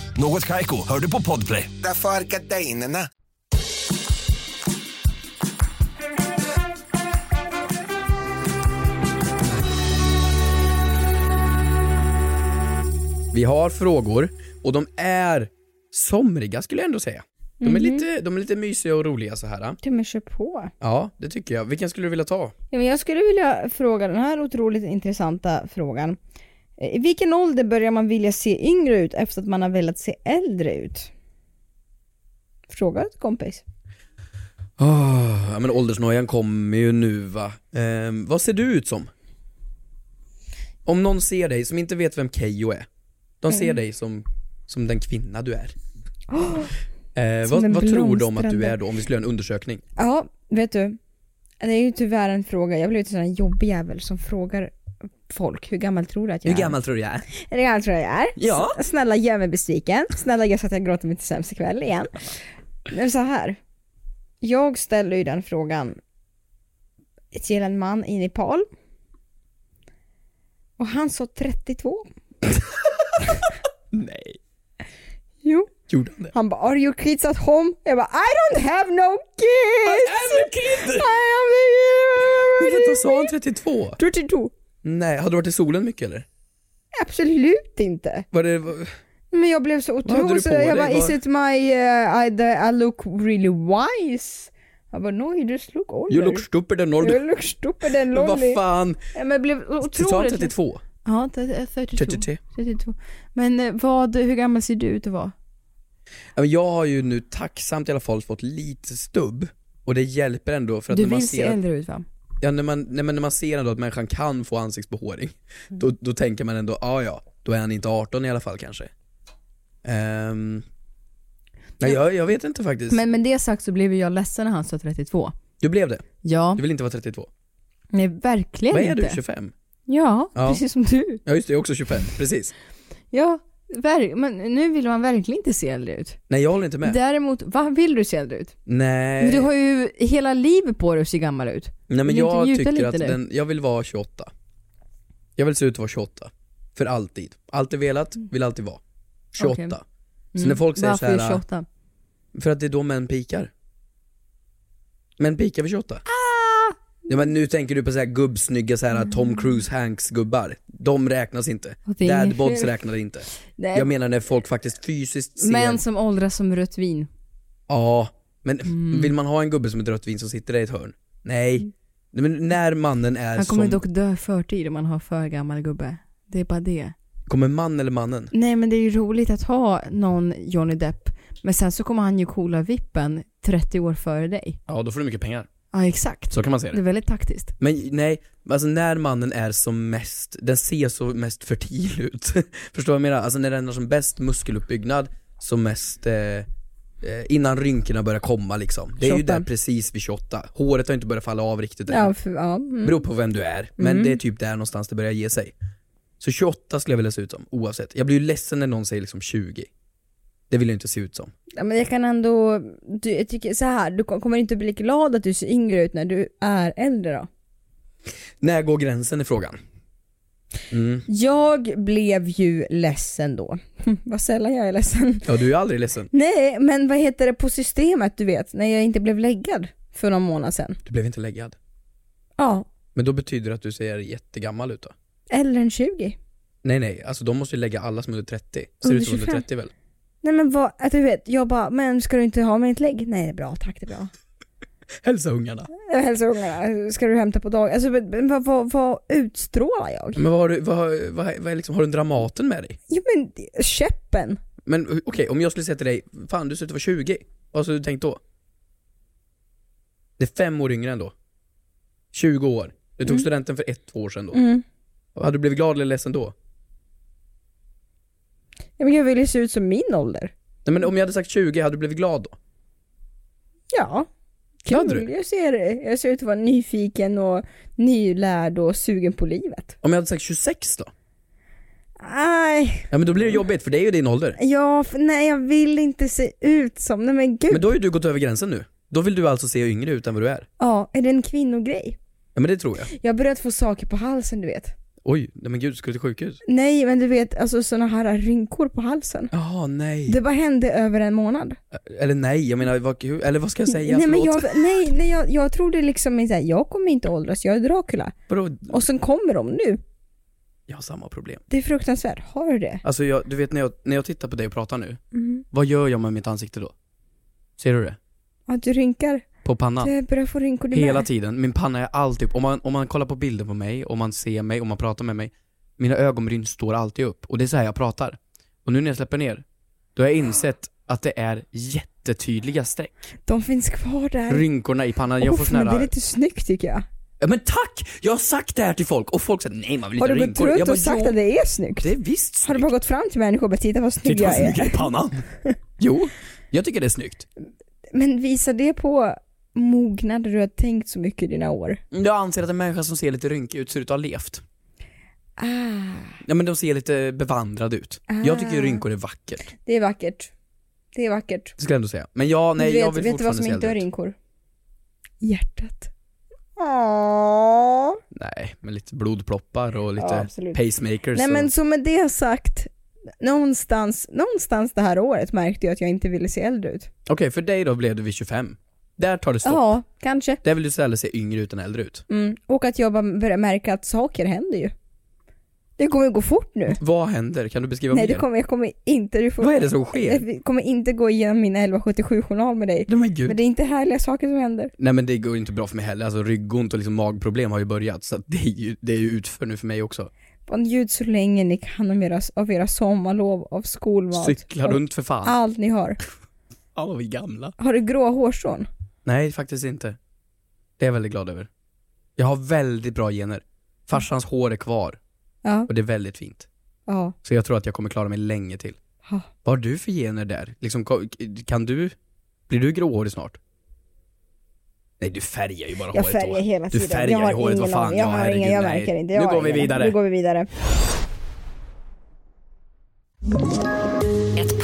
[SPEAKER 6] Något Kaiko, hör du på Podplay.
[SPEAKER 7] Därför är gardinerna.
[SPEAKER 3] Vi har frågor och de är somriga skulle jag ändå säga. De är,
[SPEAKER 2] Mhm.
[SPEAKER 3] lite, de är lite mysiga och roliga så här.
[SPEAKER 2] Ja, men kör på.
[SPEAKER 3] Ja, det tycker jag. Vilken skulle du vilja ta?
[SPEAKER 2] Ja, men jag skulle vilja fråga den här otroligt intressanta frågan. Eh, I vilken ålder börjar man vilja se yngre ut efter att man har velat se äldre ut? Fråga ett kompis.
[SPEAKER 3] Ah, ja, men åldersnojan kommer ju nu va. Ehm, vad ser du ut som? Om
[SPEAKER 2] Mm.
[SPEAKER 3] någon ser dig som inte vet vem Keyyo är, de ser dig som, som den kvinna du är. Eh,
[SPEAKER 2] Som
[SPEAKER 3] vad
[SPEAKER 2] den
[SPEAKER 3] vad tror de att du
[SPEAKER 2] blomstrande.
[SPEAKER 3] är då om vi skulle göra en undersökning?
[SPEAKER 2] Ja, vet du. Det är ju tyvärr en fråga, jag har blivit en sån här jobbig jävel som frågar folk, hur gammal tror du att jag är?
[SPEAKER 3] tror du jag är?
[SPEAKER 2] Är det gammal tror jag jag är?
[SPEAKER 3] Ja.
[SPEAKER 2] S- Snälla gör mig besviken, snälla gör så att jag gråter mig till sämst ikväll igen. Men så här. jag ställer ju den frågan till en man i Nepal. Och han sa 32.
[SPEAKER 3] Nej.
[SPEAKER 2] Jo.
[SPEAKER 3] Gjorde han det?
[SPEAKER 2] Han bara “Are your kids at home?” Jag bara “I don't have no kids!”
[SPEAKER 3] kid!
[SPEAKER 2] I am the
[SPEAKER 3] Men vänta, sa han 32?
[SPEAKER 2] 32.
[SPEAKER 3] Nej, hade du varit i solen mycket eller?
[SPEAKER 2] Absolut inte.
[SPEAKER 3] Var det, var-
[SPEAKER 2] Men jag blev så
[SPEAKER 3] hade du
[SPEAKER 2] otroligt, så
[SPEAKER 3] på
[SPEAKER 2] jag
[SPEAKER 3] dig?
[SPEAKER 2] bara
[SPEAKER 3] Vad-
[SPEAKER 2] is it my, uh, I, the, I look really wise? Jag bara no you just look older.
[SPEAKER 3] you look stupid and old.
[SPEAKER 2] You look stupid and
[SPEAKER 3] Men vad
[SPEAKER 2] lonely.
[SPEAKER 3] fan?
[SPEAKER 2] Ja, men jag blev
[SPEAKER 3] Sa han
[SPEAKER 2] otroligt...
[SPEAKER 3] 32?
[SPEAKER 2] Ja,
[SPEAKER 8] eh,
[SPEAKER 2] t- 32.
[SPEAKER 3] 33?
[SPEAKER 2] 32. Men eh, vad, hur gammal ser du ut att vara?
[SPEAKER 3] Ja, men Jag har ju nu tacksamt i alla fall fått lite stubb och det hjälper ändå för att
[SPEAKER 2] Du
[SPEAKER 3] när man
[SPEAKER 2] vill se
[SPEAKER 3] ser att,
[SPEAKER 2] äldre ut va?
[SPEAKER 3] ja, när, man, nej, men när man ser ändå att människan kan få ansiktsbehåring då, då tänker man ändå, ah, ja då är han inte 18 i alla fall kanske Ehm, Nej jag, jag vet inte faktiskt,
[SPEAKER 8] Men med det sagt så blev ju jag ledsen när han sa 32.
[SPEAKER 3] du blev det,
[SPEAKER 8] Ja,
[SPEAKER 3] du vill inte vara 32
[SPEAKER 8] nej verkligen
[SPEAKER 3] Vad är
[SPEAKER 8] inte.
[SPEAKER 3] du, 25?
[SPEAKER 8] Ja,
[SPEAKER 3] Ja.
[SPEAKER 8] precis som du.
[SPEAKER 3] Ja just det, jag är också 25, precis
[SPEAKER 8] Ja, ver- men nu vill man verkligen inte se äldre ut.
[SPEAKER 3] Nej jag håller inte med,
[SPEAKER 8] Däremot, vad vill du se äldre ut?
[SPEAKER 3] nej,
[SPEAKER 8] Du har ju hela livet på dig att se gammal ut.
[SPEAKER 3] nej men
[SPEAKER 8] vill
[SPEAKER 3] jag
[SPEAKER 8] inte njuta
[SPEAKER 3] tycker
[SPEAKER 8] lite
[SPEAKER 3] att
[SPEAKER 8] nu?
[SPEAKER 3] den, jag vill vara 28 Jag vill se ut att vara 28, för alltid, alltid velat, vill alltid vara 28
[SPEAKER 8] Mm. Okej.
[SPEAKER 3] Så när folk säger
[SPEAKER 8] Mm. Varför är
[SPEAKER 3] såhär,
[SPEAKER 8] du 28?
[SPEAKER 3] För att det är då män pikar. Män pikar vid 28.
[SPEAKER 8] Ah!
[SPEAKER 3] Ja, men nu tänker du på så här gubbsnygga så här Tom Cruise Hanks gubbar. De räknas inte.
[SPEAKER 8] Mm. Och det är inget
[SPEAKER 3] Dadbods
[SPEAKER 8] fel.
[SPEAKER 3] räknar inte.
[SPEAKER 8] Nej,
[SPEAKER 3] Jag menar när folk faktiskt fysiskt ser...
[SPEAKER 8] Män som åldras som rött vin.
[SPEAKER 3] Ja, men
[SPEAKER 8] Mm.
[SPEAKER 3] vill man ha en gubbe som ett rött vin som sitter där i ett hörn? Nej. Nej, Men när mannen är
[SPEAKER 8] Han kommer
[SPEAKER 3] som...
[SPEAKER 8] dock dö i förtid om man har för gammal gubbe. Det är bara det.
[SPEAKER 3] Kommer man eller mannen?
[SPEAKER 8] Nej men det är ju roligt att ha någon Johnny Depp, men sen så kommer han ju coola vippen 30 år före dig.
[SPEAKER 3] Ja, då får du mycket pengar.
[SPEAKER 8] Ja exakt.
[SPEAKER 3] Så kan man se
[SPEAKER 8] Det är väldigt taktiskt.
[SPEAKER 3] Men nej, alltså när mannen är som mest, den ser så mest fertil ut. Förstår du vad jag menar? Alltså när den har som bäst muskeluppbyggnad, som mest eh, eh, innan rynkorna börjar komma liksom. Det är ju
[SPEAKER 2] 28.
[SPEAKER 3] där precis vid 28. Håret har inte börjat falla av riktigt än.
[SPEAKER 2] Ja, för, ja. Mm.
[SPEAKER 3] Beror på vem du är, men det är typ där någonstans det börjar ge sig. Så 28 skulle jag vilja se ut som, oavsett. Jag blir ju ledsen när någon säger liksom 20. Det vill jag inte se ut som.
[SPEAKER 2] ja men jag kan ändå, du, jag tycker så här, du kommer inte bli glad att du ser yngre ut när du är äldre då?
[SPEAKER 3] När går gränsen i frågan? Mm.
[SPEAKER 2] Jag blev ju ledsen då. Vad sällan jag är ledsen.
[SPEAKER 3] Ja, du är aldrig ledsen.
[SPEAKER 2] Nej, men vad heter det på systemet du vet, när jag inte blev läggad för någon månad sedan.
[SPEAKER 3] Du blev inte läggad.
[SPEAKER 2] Ja,
[SPEAKER 3] Men då betyder det att du ser jättegammal ut då?
[SPEAKER 2] eller en 20.
[SPEAKER 3] Nej nej, alltså de måste ju lägga alla som är under 30. Ser
[SPEAKER 2] Under
[SPEAKER 3] ut som under
[SPEAKER 2] 25.
[SPEAKER 3] 30 väl?
[SPEAKER 2] Nej men vad, att du vet, jag bara, men ska du inte ha mitt lägg? Nej det är bra, tack det är bra.
[SPEAKER 3] Hälsa ungarna.
[SPEAKER 2] Jag hälsar ungarna, ska du hämta på dag? Alltså men, men vad, vad, vad utstrålar jag?
[SPEAKER 3] Men vad har du, vad, har- vad, vad är liksom, har du en Dramaten med dig?
[SPEAKER 2] Jo men käppen,
[SPEAKER 3] Men okej, om jag skulle säga till dig, fan du ser ut att vara 20. Vad skulle du tänkt då? Det är fem år yngre ändå. 20 år. Du tog studenten för ett två år sedan då.
[SPEAKER 2] Mm.
[SPEAKER 3] Hade du blivit glad eller ledsen då?
[SPEAKER 2] ja, men jag vill ju se ut som min ålder.
[SPEAKER 3] Nej men om jag hade sagt 20, hade du blivit glad då?
[SPEAKER 2] Ja,
[SPEAKER 3] Hade du?
[SPEAKER 2] Jag ser, jag ser ut att vara nyfiken och nylärd och sugen på livet.
[SPEAKER 3] Om jag hade sagt 26 då?
[SPEAKER 2] Nej,
[SPEAKER 3] Ja men då blir det jobbigt, för det är ju din ålder.
[SPEAKER 2] ja, f- nej jag vill inte se ut som, nej men gud.
[SPEAKER 3] Men då har ju du gått över gränsen nu. Då vill du alltså se yngre ut än vad du är.
[SPEAKER 2] Ja, är det en kvinnogrej?
[SPEAKER 3] Ja men det tror jag.
[SPEAKER 2] Jag har börjat få saker på halsen du vet.
[SPEAKER 3] Oj, nej men gud, ska du till sjukhus?
[SPEAKER 2] Nej men du vet, alltså sådana här rynkor på halsen.
[SPEAKER 3] Jaha, nej.
[SPEAKER 2] Det bara hände över en månad.
[SPEAKER 3] Eller nej, jag menar vad, hur- eller vad ska jag säga?
[SPEAKER 2] nej men
[SPEAKER 3] Förlåt.
[SPEAKER 2] jag, nej, nej, jag, jag trodde liksom inte såhär, jag kommer inte åldras, jag är Dracula.
[SPEAKER 3] Vadå?
[SPEAKER 2] Och sen kommer de nu.
[SPEAKER 3] Jag har samma problem.
[SPEAKER 2] Det är fruktansvärt, har du det?
[SPEAKER 3] Alltså jag, du vet när jag, när jag tittar på dig och pratar nu,
[SPEAKER 2] Mm-hmm.
[SPEAKER 3] vad gör jag med mitt ansikte då? Ser du det?
[SPEAKER 2] Att du rynkar,
[SPEAKER 3] På pannan.
[SPEAKER 2] du börjar få rynkor du
[SPEAKER 3] Hela
[SPEAKER 2] med.
[SPEAKER 3] tiden. Min panna är alltid, om man, om man kollar på bilder på mig, om man ser mig, om man pratar med mig, mina ögonbryn står alltid upp. Och det är så här jag pratar. Och nu när jag släpper ner, då har jag insett att det är jättetydliga streck.
[SPEAKER 2] De finns kvar där.
[SPEAKER 3] Rynkorna i pannan, jag får
[SPEAKER 2] Uff, men
[SPEAKER 3] såna
[SPEAKER 2] det är
[SPEAKER 3] här
[SPEAKER 2] lite snyggt tycker jag.
[SPEAKER 3] Ja men tack! Jag har sagt det här till folk och folk säger nej man vill
[SPEAKER 2] Har
[SPEAKER 3] inte
[SPEAKER 2] du
[SPEAKER 3] ha
[SPEAKER 2] gått
[SPEAKER 3] rynkor. Jag
[SPEAKER 2] runt
[SPEAKER 3] bara,
[SPEAKER 2] och sagt
[SPEAKER 3] "Ja,
[SPEAKER 2] att det är snyggt?
[SPEAKER 3] det är visst
[SPEAKER 2] Har du bara gått fram till människor och bara titta vad snygg jag är?
[SPEAKER 3] i pannan. Jo, jag tycker det är snyggt.
[SPEAKER 2] Men visar det på mognad du har tänkt så mycket i dina år?
[SPEAKER 3] Jag anser att en människa som ser lite rynkig ut ser ut att ha levt.
[SPEAKER 2] Ah,
[SPEAKER 3] Ja men de ser lite bevandrade ut. Jag tycker ju rynkor är vackert,
[SPEAKER 2] det är vackert. Det är vackert.
[SPEAKER 3] det skulle jag ändå säga. Men ja, nej
[SPEAKER 2] du vet,
[SPEAKER 3] jag vill
[SPEAKER 2] vet du vad
[SPEAKER 3] fortfarande
[SPEAKER 2] som
[SPEAKER 3] se
[SPEAKER 2] inte har
[SPEAKER 3] äldre ut.
[SPEAKER 2] rynkor? Hjärtat. Åh.
[SPEAKER 3] Nej, men lite blodploppar och lite
[SPEAKER 2] Ja, absolut.
[SPEAKER 3] pacemakers
[SPEAKER 2] Nej
[SPEAKER 3] och-
[SPEAKER 2] men så med det sagt, någonstans, någonstans det här året märkte jag att jag inte ville se äldre ut.
[SPEAKER 3] Okej, för dig då blev du vid 25. Där tar det stopp.
[SPEAKER 2] Ja, kanske.
[SPEAKER 3] Där vill du istället se yngre ut än äldre ut.
[SPEAKER 2] Mm. Och att jag bara börjar märka att saker händer ju. Det kommer ju gå fort nu.
[SPEAKER 3] Vad händer? Kan du beskriva
[SPEAKER 2] Nej
[SPEAKER 3] mer?
[SPEAKER 2] det kommer, jag kommer inte, du får,
[SPEAKER 3] Vad är det som sker?
[SPEAKER 2] jag kommer inte gå igenom min 1177 journal med dig.
[SPEAKER 3] Nej men gud.
[SPEAKER 2] Men det är inte härliga saker som händer.
[SPEAKER 3] Nej men det går ju inte bra för mig heller, alltså ryggont och liksom magproblem har ju börjat så att det är ju, det är ju utför nu för mig också.
[SPEAKER 2] Och Njut så länge ni kan av era, av era sommarlov, av skolmat.
[SPEAKER 3] Cykla
[SPEAKER 2] av
[SPEAKER 3] runt för fan. Ja,
[SPEAKER 2] Allt ni har.
[SPEAKER 3] vad vi är gamla.
[SPEAKER 2] Har du grå hårstrån?
[SPEAKER 3] Nej faktiskt inte. Det är jag väldigt glad över. Jag har väldigt bra gener. Farsans hår är kvar
[SPEAKER 2] Ja.
[SPEAKER 3] och det är väldigt fint.
[SPEAKER 2] Ja.
[SPEAKER 3] Så jag tror att jag kommer klara mig länge till.
[SPEAKER 2] Ja.
[SPEAKER 3] Vad har du för gener där? Liksom, ko- kan du, blir du gråhårig snart? Nej du färgar ju bara
[SPEAKER 2] Jag
[SPEAKER 3] håret då.
[SPEAKER 2] färgar hela
[SPEAKER 3] Du
[SPEAKER 2] tiden.
[SPEAKER 3] färgar
[SPEAKER 2] jag har
[SPEAKER 3] i håret, vad
[SPEAKER 2] ingen
[SPEAKER 3] fan,
[SPEAKER 2] aning.
[SPEAKER 3] ja,
[SPEAKER 2] Jag har
[SPEAKER 3] herregud,
[SPEAKER 2] ingen, jag
[SPEAKER 3] nej.
[SPEAKER 2] märker inte.
[SPEAKER 3] Nu
[SPEAKER 2] Jag har
[SPEAKER 3] går vi
[SPEAKER 2] ingen.
[SPEAKER 3] vidare.
[SPEAKER 2] Nu går vi vidare.
[SPEAKER 5] Ett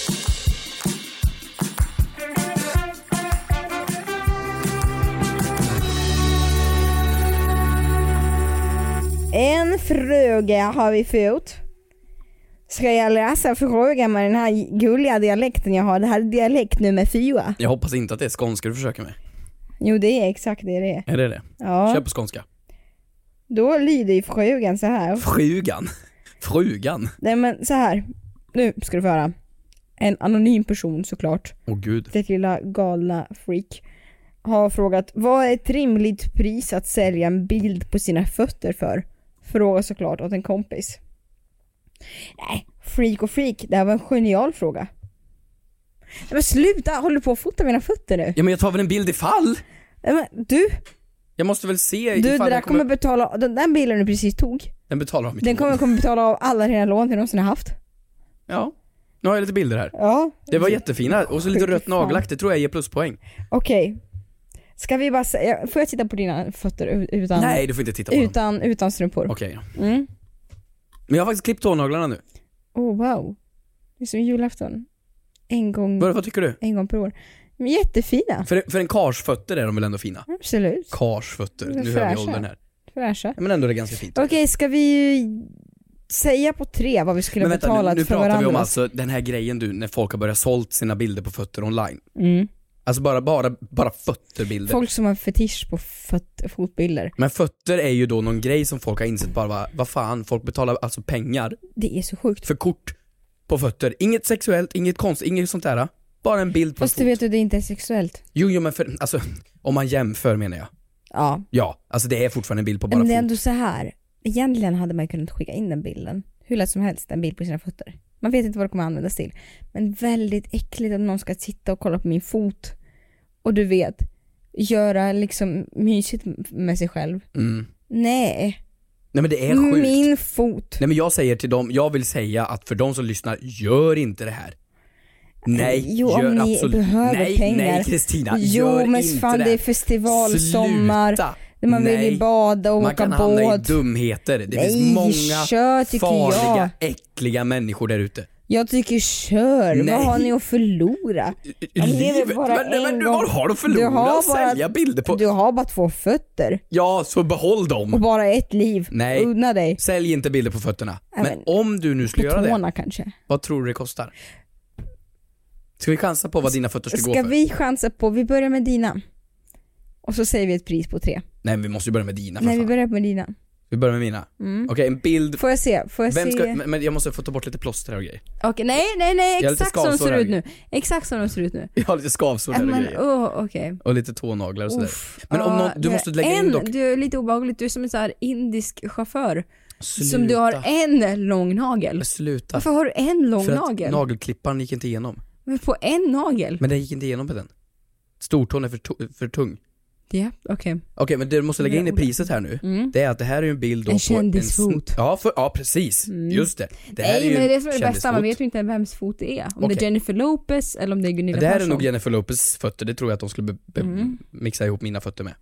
[SPEAKER 2] En fråga har vi fått. Ska jag läsa frågan med den här gulliga dialekten jag har? Det här är dialekt nummer fyra.
[SPEAKER 3] Jag hoppas inte att det är skånska du försöker med.
[SPEAKER 2] Jo det är exakt det det är.
[SPEAKER 3] Är det det?
[SPEAKER 2] Ja.
[SPEAKER 3] Kör på skånska.
[SPEAKER 2] Då lyder ju frågan så här.
[SPEAKER 3] Frugan. Frugan.
[SPEAKER 2] Nej men så här. Nu ska du få höra. En anonym person såklart.
[SPEAKER 3] Åh gud.
[SPEAKER 2] Det lilla galna freak. Har frågat vad är ett rimligt pris att sälja en bild på sina fötter för? Fråga såklart åt en kompis. Nej, freak och freak. Det här var en genial fråga. Nej, men sluta! Håller du på att fota mina fötter nu?
[SPEAKER 3] Ja men jag tar väl en bild i fall?
[SPEAKER 2] Nej, men du,
[SPEAKER 3] Jag måste väl se
[SPEAKER 2] du det
[SPEAKER 3] ifall
[SPEAKER 2] där
[SPEAKER 3] den
[SPEAKER 2] kommer
[SPEAKER 3] kommer...
[SPEAKER 2] betala, den där bilen du precis tog,
[SPEAKER 3] Den betalar av mitt
[SPEAKER 2] den kommer,
[SPEAKER 3] lån.
[SPEAKER 2] kommer betala av alla dina lån du någonsin har haft.
[SPEAKER 3] Ja. Nu har jag lite bilder här.
[SPEAKER 2] Ja,
[SPEAKER 3] Det var jättefina. Och så lite
[SPEAKER 2] Sjukt
[SPEAKER 3] rött
[SPEAKER 2] fan.
[SPEAKER 3] nagellack, det tror jag ger pluspoäng.
[SPEAKER 2] okej. Ska vi bara säga, får jag titta på dina fötter u- utan,
[SPEAKER 3] Nej, du får inte titta på dem.
[SPEAKER 2] utan, utan strumpor?
[SPEAKER 3] Okej.
[SPEAKER 2] Mm.
[SPEAKER 3] Men jag har faktiskt klippt tånaglarna nu.
[SPEAKER 2] Oh wow. Det är som julafton. En gång,
[SPEAKER 3] Vad, vad tycker du?
[SPEAKER 2] en gång per år. Men jättefina.
[SPEAKER 3] För, för en kars fötter är de väl ändå fina?
[SPEAKER 2] Absolut.
[SPEAKER 3] Kars fötter.
[SPEAKER 2] De är
[SPEAKER 3] Nu hör vi
[SPEAKER 2] fräscha.
[SPEAKER 3] åldern här.
[SPEAKER 2] Fräscha.
[SPEAKER 3] Ja, men ändå är det ganska fint.
[SPEAKER 2] Okej, ska vi ju säga på tre vad vi skulle
[SPEAKER 3] Men
[SPEAKER 2] ha
[SPEAKER 3] vänta, nu,
[SPEAKER 2] betalat
[SPEAKER 3] nu
[SPEAKER 2] för
[SPEAKER 3] pratar vi om
[SPEAKER 2] varandra?
[SPEAKER 3] alltså den här grejen du, när folk har börjat sålt sina bilder på fötter online.
[SPEAKER 2] mm.
[SPEAKER 3] Alltså bara, bara, bara fötterbilder.
[SPEAKER 2] Folk som har fetisch på föt- fotbilder.
[SPEAKER 3] Men fötter är ju då någon grej som folk har insett bara, vad, vad fan, folk betalar alltså pengar
[SPEAKER 2] Det är så sjukt.
[SPEAKER 3] för kort på fötter. Inget sexuellt, inget konstigt, inget sånt där. Bara en bild på en
[SPEAKER 2] Fast
[SPEAKER 3] fot.
[SPEAKER 2] du vet du, det är inte sexuellt.
[SPEAKER 3] Jo, jo men för, alltså, om man jämför menar jag.
[SPEAKER 2] Ja.
[SPEAKER 3] Ja, alltså det är fortfarande en bild på bara
[SPEAKER 2] Men
[SPEAKER 3] fot.
[SPEAKER 2] det är ändå så här. Egentligen hade man kunnat skicka in den bilden. Hur lätt som helst, en bild på sina fötter. Man vet inte vad det kommer användas till. Men väldigt äckligt att någon ska sitta och kolla på min fot. Och du vet, göra liksom mysigt med sig själv.
[SPEAKER 3] Mm.
[SPEAKER 2] Nej,
[SPEAKER 3] Nej men det är sjukt.
[SPEAKER 2] min fot.
[SPEAKER 3] Nej men jag säger till dem, jag vill säga att för de som lyssnar, gör inte det här. Nej,
[SPEAKER 2] Jo, om
[SPEAKER 3] gör
[SPEAKER 2] ni
[SPEAKER 3] absolut
[SPEAKER 2] behöver
[SPEAKER 3] nej,
[SPEAKER 2] pengar.
[SPEAKER 3] Nej Kristina, gör
[SPEAKER 2] jo men
[SPEAKER 3] inte
[SPEAKER 2] fan
[SPEAKER 3] det.
[SPEAKER 2] det är festivalsommar.
[SPEAKER 3] Sluta.
[SPEAKER 2] Man vill
[SPEAKER 3] Nej.
[SPEAKER 2] ju bada och
[SPEAKER 3] Man
[SPEAKER 2] åka
[SPEAKER 3] kan hamna i
[SPEAKER 2] båt.
[SPEAKER 3] dumheter. Det finns
[SPEAKER 2] Nej,
[SPEAKER 3] många
[SPEAKER 2] kör, tycker
[SPEAKER 3] farliga,
[SPEAKER 2] jag.
[SPEAKER 3] äckliga människor där ute.
[SPEAKER 2] Jag tycker kör,
[SPEAKER 3] Nej.
[SPEAKER 2] vad har ni att förlora? Alltså, Jag lever
[SPEAKER 3] Livet,
[SPEAKER 2] bara
[SPEAKER 3] men, nej,
[SPEAKER 2] en
[SPEAKER 3] men du,
[SPEAKER 2] gång.
[SPEAKER 3] vad har du
[SPEAKER 2] Du
[SPEAKER 3] förlorat?
[SPEAKER 2] har bara-
[SPEAKER 3] Sälja bilder på...
[SPEAKER 2] Du har bara två fötter
[SPEAKER 3] Ja, så behåll
[SPEAKER 2] och
[SPEAKER 3] dem.
[SPEAKER 2] bara ett liv.
[SPEAKER 3] Nej.
[SPEAKER 2] Unna dig.
[SPEAKER 3] Sälj inte bilder på fötterna.
[SPEAKER 2] Nej,
[SPEAKER 3] Men
[SPEAKER 2] men-
[SPEAKER 3] om du nu skulle
[SPEAKER 2] På
[SPEAKER 3] göra det,
[SPEAKER 2] tårna kanske.
[SPEAKER 3] vad tror du det kostar? Ska vi chansa på vad dina fötter ska, gå
[SPEAKER 2] Ska
[SPEAKER 3] för?
[SPEAKER 2] vi chansa på, vi börjar med dina. Och så säger vi ett pris på tre.
[SPEAKER 3] Nej, men vi måste ju börja med dina för
[SPEAKER 2] Nej vi
[SPEAKER 3] fan.
[SPEAKER 2] börjar med dina.
[SPEAKER 3] Vi börjar med mina.
[SPEAKER 9] Mm.
[SPEAKER 3] Okej, en bild.
[SPEAKER 9] Får jag se? Får jag
[SPEAKER 3] Vem
[SPEAKER 9] se?
[SPEAKER 3] ska, men men jag måste få ta bort lite plåster här och grejer.
[SPEAKER 2] Okej, nej, nej, nej,
[SPEAKER 3] Jag är lite
[SPEAKER 2] exakt som de ser
[SPEAKER 3] skavsår
[SPEAKER 2] ut
[SPEAKER 3] här.
[SPEAKER 2] nu. Exakt som de ser ut nu.
[SPEAKER 3] Jag har lite skavsår här och
[SPEAKER 2] Men,
[SPEAKER 3] grejer.
[SPEAKER 2] oh, okej.
[SPEAKER 3] Och lite tånaglar och sådär.
[SPEAKER 2] Uff,
[SPEAKER 3] Men om
[SPEAKER 2] ja,
[SPEAKER 3] någon, du
[SPEAKER 2] det-
[SPEAKER 3] måste lägga
[SPEAKER 2] en,
[SPEAKER 3] in dock.
[SPEAKER 2] Du är lite obehagligt, du är som en så här indisk chaufför. Som
[SPEAKER 3] Sluta.
[SPEAKER 2] du har en lång nagel.
[SPEAKER 3] Sluta.
[SPEAKER 2] Varför har du en lång
[SPEAKER 3] För att
[SPEAKER 2] nagel?
[SPEAKER 3] nagelklipparen gick inte igenom.
[SPEAKER 2] Men på en nagel?
[SPEAKER 3] Men den gick inte igenom på den. Stortån är för, to- för tung.
[SPEAKER 2] Ja, okej.
[SPEAKER 3] Okej men det du måste lägga in i priset här nu, det är att det här är ju en bild då
[SPEAKER 2] Mm. En
[SPEAKER 3] på
[SPEAKER 2] kändisfot. Mm.
[SPEAKER 3] sn- Ja, för, ja precis, just det. Det här
[SPEAKER 2] Nej
[SPEAKER 3] ju
[SPEAKER 2] men det är
[SPEAKER 3] en
[SPEAKER 2] det som är det bästa, man
[SPEAKER 3] kändisfot.
[SPEAKER 2] vet ju inte vems fot det är. Om det
[SPEAKER 3] Okej.
[SPEAKER 2] är Jennifer Lopez eller om det är Gunilla
[SPEAKER 3] Det här är
[SPEAKER 2] Persson. Mm.
[SPEAKER 3] nog Jennifer Lopez fötter, det tror jag att de skulle be- be- mixa ihop mina fötter med.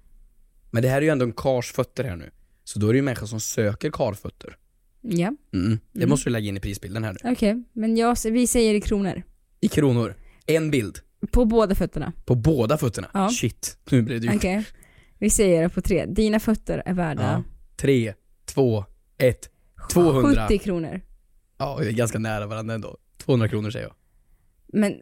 [SPEAKER 3] Men det här är ju ändå en kars fötter här nu. Så då är det ju människor som söker karfötter.
[SPEAKER 2] Ja,
[SPEAKER 3] Mm. Det måste du lägga in i prisbilden här nu.
[SPEAKER 2] okej. Men jag, vi säger i kronor.
[SPEAKER 3] I kronor, en bild.
[SPEAKER 2] På båda fötterna.
[SPEAKER 3] På båda fötterna.
[SPEAKER 2] Ja.
[SPEAKER 3] Shit, nu blev det ju...
[SPEAKER 2] Okej. Vi säger det på tre. Dina fötter är värda
[SPEAKER 3] Ja. Tre, två, ett, 200.
[SPEAKER 2] 70 kronor.
[SPEAKER 3] Ja, vi är ganska nära varandra ändå. 200 kronor säger jag.
[SPEAKER 2] Men,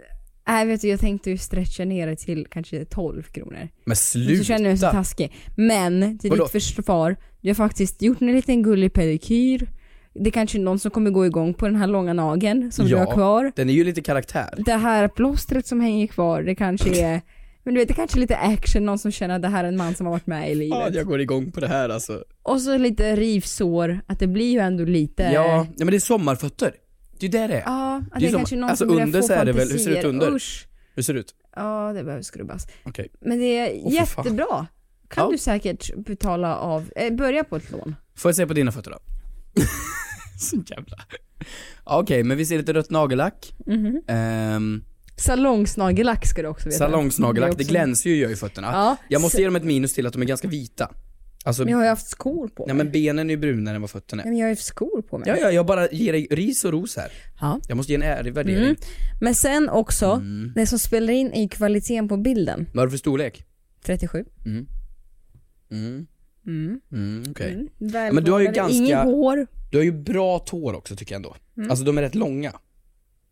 [SPEAKER 2] nej vet du, jag tänkte ju stretcha ner det till kanske 12 kronor.
[SPEAKER 3] Men
[SPEAKER 2] Så känner jag mig så
[SPEAKER 3] sluta!
[SPEAKER 2] taskig. Men till
[SPEAKER 3] Vadå?
[SPEAKER 2] ditt försvar, du har faktiskt gjort en liten gullig pedikyr. Det är kanske är någon som kommer gå igång på den här långa nageln som du
[SPEAKER 3] Ja.
[SPEAKER 2] har kvar.
[SPEAKER 3] Den är ju lite karaktär.
[SPEAKER 2] Det här plåstret som hänger kvar, det kanske är men du vet, det kanske är lite action, någon som känner att det här är en man som har varit med i
[SPEAKER 3] Ja,
[SPEAKER 2] livet.
[SPEAKER 3] jag går igång på det här alltså.
[SPEAKER 2] Och så lite rivsår, att det blir ju ändå lite...
[SPEAKER 3] Ja, nej, men det är sommarfötter. Det är ju det det är.
[SPEAKER 2] Eh. Ja, att
[SPEAKER 3] ju
[SPEAKER 2] det, är
[SPEAKER 3] som-
[SPEAKER 2] kanske är någon
[SPEAKER 3] alltså,
[SPEAKER 2] som börjar
[SPEAKER 3] under
[SPEAKER 2] få
[SPEAKER 3] så är det väl- hur ser det ut
[SPEAKER 2] fantasier.
[SPEAKER 3] under?
[SPEAKER 2] Usch.
[SPEAKER 3] Hur ser det ut?
[SPEAKER 2] Ja, det behöver skrubbas.
[SPEAKER 3] Okej.
[SPEAKER 2] Men det är
[SPEAKER 3] Åh, fy fan.
[SPEAKER 2] jättebra. Kan
[SPEAKER 3] Ja.
[SPEAKER 2] du säkert betala av, eh, börja på ett lån.
[SPEAKER 3] Får jag se på dina fötter då? Så jävla... Ja, Okej, men vi ser lite rött nagellack. Ehm,
[SPEAKER 2] Salongsnagellack ska du också veta.
[SPEAKER 3] salongsnagellack, det
[SPEAKER 2] också-
[SPEAKER 3] glänser ju gör i fötterna.
[SPEAKER 2] Ja.
[SPEAKER 3] Jag måste ge dem ett minus till att de är ganska vita. Alltså,
[SPEAKER 2] Men jag har ju haft skor på mig.
[SPEAKER 3] nej men benen är ju brunare än vad fötterna är.
[SPEAKER 2] Nej, men jag har ju haft skor på mig.
[SPEAKER 3] Ja, ja, jag bara ger dig ris och ros här.
[SPEAKER 2] Ja.
[SPEAKER 3] Jag måste ge en ärlig värdering.
[SPEAKER 2] Mm. Men sen också,
[SPEAKER 3] Mm.
[SPEAKER 2] det som spelar in är ju kvaliteten på bilden.
[SPEAKER 3] Vad har du för storlek?
[SPEAKER 2] 37.
[SPEAKER 3] Mm.
[SPEAKER 2] Mm.
[SPEAKER 3] Mm, okej.
[SPEAKER 2] Mm.
[SPEAKER 3] Men du har ju
[SPEAKER 2] Välvårdade,
[SPEAKER 3] ganska-
[SPEAKER 2] Inget hår.
[SPEAKER 3] Du har ju bra tår också tycker jag ändå.
[SPEAKER 9] Mm.
[SPEAKER 3] Alltså de är rätt långa.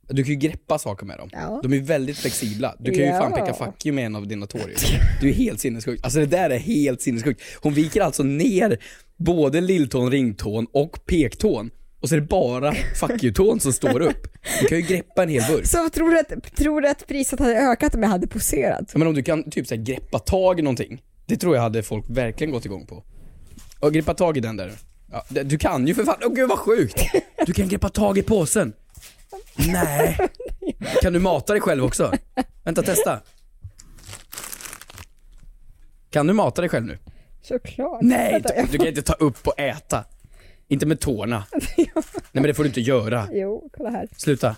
[SPEAKER 3] Du kan ju greppa saker med dem.
[SPEAKER 9] Ja.
[SPEAKER 3] De är väldigt flexibla. Du kan ju
[SPEAKER 9] Ja.
[SPEAKER 3] fan peka fuck you med en av dina tår ju. Du är helt sinnessjuk. Alltså det där är helt sinnessjukt. Hon viker alltså ner både lilltån, ringtån och pektån. Och så är det bara fuck you-tån som står upp. Du kan ju greppa en hel burk.
[SPEAKER 9] Så tror du, att, tror du att priset hade ökat om jag hade poserat?
[SPEAKER 3] Ja, Men om du kan typ så här, greppa tag i någonting. Det tror jag hade folk verkligen gått igång på. Och greppa tag i den där. Ja, det- du kan ju för fan, åh gud vad sjukt! Du kan greppa tag i påsen. Nej. Kan du mata dig själv också? Vänta, testa. Kan du mata dig själv nu?
[SPEAKER 9] Såklart.
[SPEAKER 3] Nej,
[SPEAKER 9] Vänta, jag-
[SPEAKER 3] du kan inte ta upp och äta. Inte med tårna. Nej men det får du inte göra.
[SPEAKER 9] Jo, kolla här.
[SPEAKER 3] Sluta.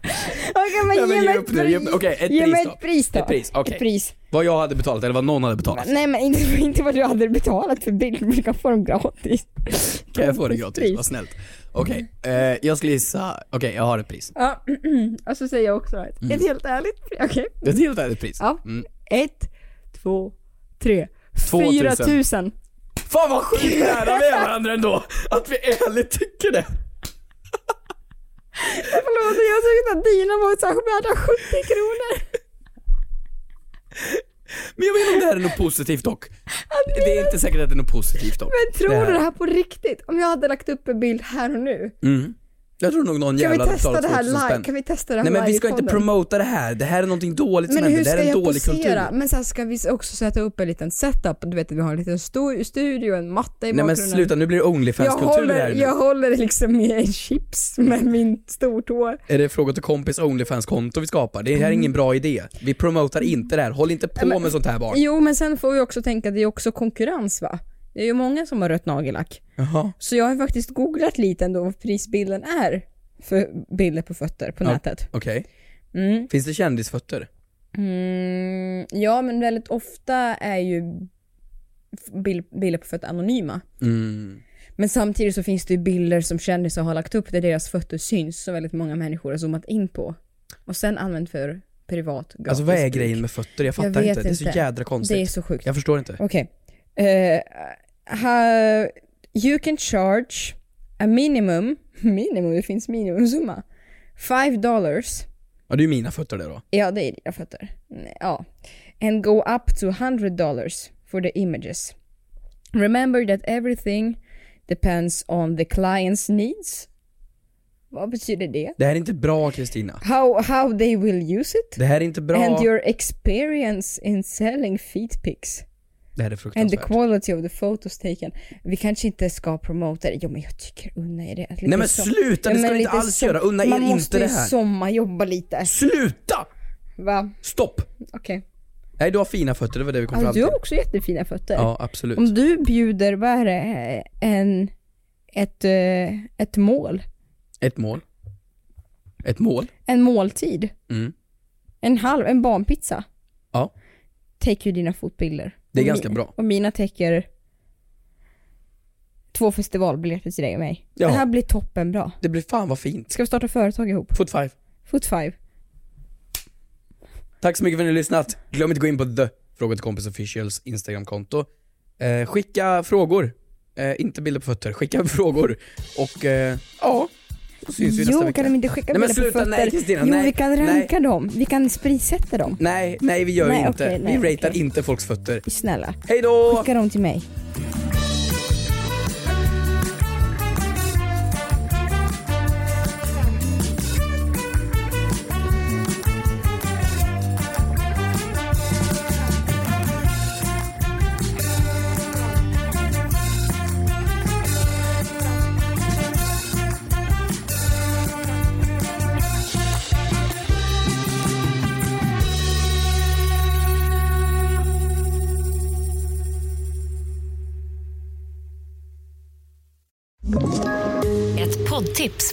[SPEAKER 9] Okej, men
[SPEAKER 3] Nej, men
[SPEAKER 9] ge
[SPEAKER 3] ge
[SPEAKER 9] mig
[SPEAKER 3] upp
[SPEAKER 9] ett
[SPEAKER 3] nu, ge upp nu.
[SPEAKER 9] pris.
[SPEAKER 3] Okej, ett
[SPEAKER 9] Ge
[SPEAKER 3] pris
[SPEAKER 9] mig
[SPEAKER 3] då.
[SPEAKER 9] ett pris då.
[SPEAKER 3] Ett pris, okej.
[SPEAKER 9] Ett pris.
[SPEAKER 3] Vad jag hade betalat eller vad någon hade betalat.
[SPEAKER 9] Nej men inte, inte vad du hade betalat för bilden, men du kan få dem gratis.
[SPEAKER 3] Kan jag få det gratis?
[SPEAKER 9] Pris.
[SPEAKER 3] Vad snällt. Okej, eh, jag skulle gissa, okej jag har ett pris.
[SPEAKER 2] Ja, och så säger jag också ett. Ett helt ärligt pris. Okej.
[SPEAKER 3] Det är ett helt ärligt pris.
[SPEAKER 2] Ja.
[SPEAKER 3] Mm.
[SPEAKER 2] Ett, två, tre.
[SPEAKER 3] 2000.
[SPEAKER 2] Fyra tusen.
[SPEAKER 3] Fan vad sjukt nära vi är varandra ändå! Att vi ärligt tycker det.
[SPEAKER 2] Förlåt, jag tyckte att dina var så här värda 70 kronor.
[SPEAKER 3] Men jag vet inte om det här är något positivt dock. Det är inte säkert att det är något positivt dock.
[SPEAKER 2] Men tror
[SPEAKER 3] här-
[SPEAKER 2] du det här på riktigt? Om jag hade lagt upp en bild här och nu.
[SPEAKER 3] Mm. Jag tror nog någon
[SPEAKER 2] Kan vi
[SPEAKER 3] jävla
[SPEAKER 2] testa det här
[SPEAKER 3] 2000
[SPEAKER 2] live?
[SPEAKER 3] spänn.
[SPEAKER 2] Kan vi testa det här
[SPEAKER 3] Nej men vi ska
[SPEAKER 2] live i
[SPEAKER 3] inte
[SPEAKER 2] podden?
[SPEAKER 3] promota det här. Det här är någonting dåligt som
[SPEAKER 2] Men
[SPEAKER 3] händer.
[SPEAKER 2] hur
[SPEAKER 3] Det här
[SPEAKER 2] ska
[SPEAKER 3] är en
[SPEAKER 2] jag
[SPEAKER 3] dålig kultur.
[SPEAKER 2] posera? Men sen ska vi också sätta upp en liten setup. Du vet att vi har en liten stor studio, en matta i
[SPEAKER 3] Nej men
[SPEAKER 2] bakgrunden.
[SPEAKER 3] sluta, nu blir det
[SPEAKER 2] Jag
[SPEAKER 3] Onlyfans-kultur här
[SPEAKER 2] håller,
[SPEAKER 3] nu.
[SPEAKER 2] jag håller liksom i en chips med min stortå.
[SPEAKER 3] Är det fråga till kompis Onlyfans-konto vi skapar? Det
[SPEAKER 2] Mm.
[SPEAKER 3] här är ingen bra idé. Vi promotar inte det här. Håll inte på med sånt här barn.
[SPEAKER 2] Jo, men sen får vi också tänka att det är också konkurrens va? Det är ju många som har rött nagellack.
[SPEAKER 3] Jaha.
[SPEAKER 2] Så jag har ju faktiskt googlat lite ändå vad prisbilden är för bilder på fötter på
[SPEAKER 3] Ja.
[SPEAKER 2] nätet.
[SPEAKER 3] Okej.
[SPEAKER 2] Mm.
[SPEAKER 3] Finns det kändisfötter?
[SPEAKER 2] Mm, ja, men väldigt ofta är ju f- bild- bilder på fötter anonyma.
[SPEAKER 3] Mm.
[SPEAKER 2] Men samtidigt så finns det ju bilder som kändisar har lagt upp där deras fötter syns som väldigt många människor har zoomat in på. Och sen använt för privat gratis
[SPEAKER 3] Alltså vad är
[SPEAKER 2] bruk.
[SPEAKER 3] grejen med fötter? Jag fattar
[SPEAKER 2] Jag vet
[SPEAKER 3] inte. Det är så
[SPEAKER 2] inte.
[SPEAKER 3] jädra konstigt.
[SPEAKER 2] Det är så sjukt.
[SPEAKER 3] Jag förstår inte.
[SPEAKER 2] Okej. Eh, ha- you can charge a minimum, minimum, det finns minimumsumma. Five dollars.
[SPEAKER 3] Ja, det är ju mina fötter det då.
[SPEAKER 2] Ja, det är dina fötter. Nej, Ja. and go up to $100 for the images. Remember that everything depends on the client's needs. Vad betyder det?
[SPEAKER 3] Det här är inte bra Kristina.
[SPEAKER 2] How, how they will use it?
[SPEAKER 3] Det här är inte bra.
[SPEAKER 2] And your experience in selling feet pics.
[SPEAKER 3] Det här är
[SPEAKER 2] And the
[SPEAKER 3] fruktansvärt.
[SPEAKER 2] quality of the photos taken. Vi kanske inte ska promota det. Jo men jag tycker unna er det. Lite
[SPEAKER 3] Nej, men
[SPEAKER 2] så-
[SPEAKER 3] sluta, det ska vi inte
[SPEAKER 2] lite
[SPEAKER 3] alls
[SPEAKER 2] så-
[SPEAKER 3] göra. Unna er
[SPEAKER 2] Man
[SPEAKER 3] inte
[SPEAKER 2] måste ju
[SPEAKER 3] det här.
[SPEAKER 2] sommarjobba lite.
[SPEAKER 3] Sluta!
[SPEAKER 2] Va?
[SPEAKER 3] Stopp!
[SPEAKER 2] Okej.
[SPEAKER 3] Nej du har fina fötter, det var det vi kom
[SPEAKER 2] Ja,
[SPEAKER 3] fram
[SPEAKER 2] du
[SPEAKER 3] till.
[SPEAKER 2] har också jättefina fötter.
[SPEAKER 3] Ja absolut.
[SPEAKER 2] Om du bjuder, vad är det, en, ett, eh, ett mål?
[SPEAKER 3] Ett mål. Ett mål.
[SPEAKER 2] En måltid?
[SPEAKER 3] Mm.
[SPEAKER 2] En halv, en barnpizza?
[SPEAKER 3] Ja.
[SPEAKER 2] Täcker ju dina fotbilder.
[SPEAKER 3] Det är
[SPEAKER 2] Och
[SPEAKER 3] ganska
[SPEAKER 2] mi-
[SPEAKER 3] bra.
[SPEAKER 2] Och mina täcker två festivalbiljetter till dig och mig.
[SPEAKER 3] Ja.
[SPEAKER 2] Det här blir toppenbra.
[SPEAKER 3] Det blir fan vad fint.
[SPEAKER 2] Ska vi starta företag ihop?
[SPEAKER 3] Foot five.
[SPEAKER 2] Foot five.
[SPEAKER 3] Tack så mycket för att ni har lyssnat. Glöm inte gå in på the Fråga till kompis officials Instagramkonto. Eh, skicka frågor. Eh, inte bilder på fötter, skicka frågor. Och eh, ja, så syns vi nästa
[SPEAKER 2] Jo,
[SPEAKER 3] vecka.
[SPEAKER 2] kan de inte skicka
[SPEAKER 3] Nej, men
[SPEAKER 2] bilder på
[SPEAKER 3] sluta,
[SPEAKER 2] fötter?
[SPEAKER 3] nej, Kristina,
[SPEAKER 2] jo,
[SPEAKER 3] nej,
[SPEAKER 2] vi kan
[SPEAKER 3] nej.
[SPEAKER 2] ranka dem. Vi kan spritsätta dem.
[SPEAKER 3] Nej, nej vi gör
[SPEAKER 2] Nej,
[SPEAKER 3] inte.
[SPEAKER 2] okej, nej,
[SPEAKER 3] vi ratear
[SPEAKER 2] okej.
[SPEAKER 3] inte folks fötter.
[SPEAKER 2] Snälla,
[SPEAKER 3] Hej då!
[SPEAKER 2] skicka dem till mig.
[SPEAKER 5] Ett poddtips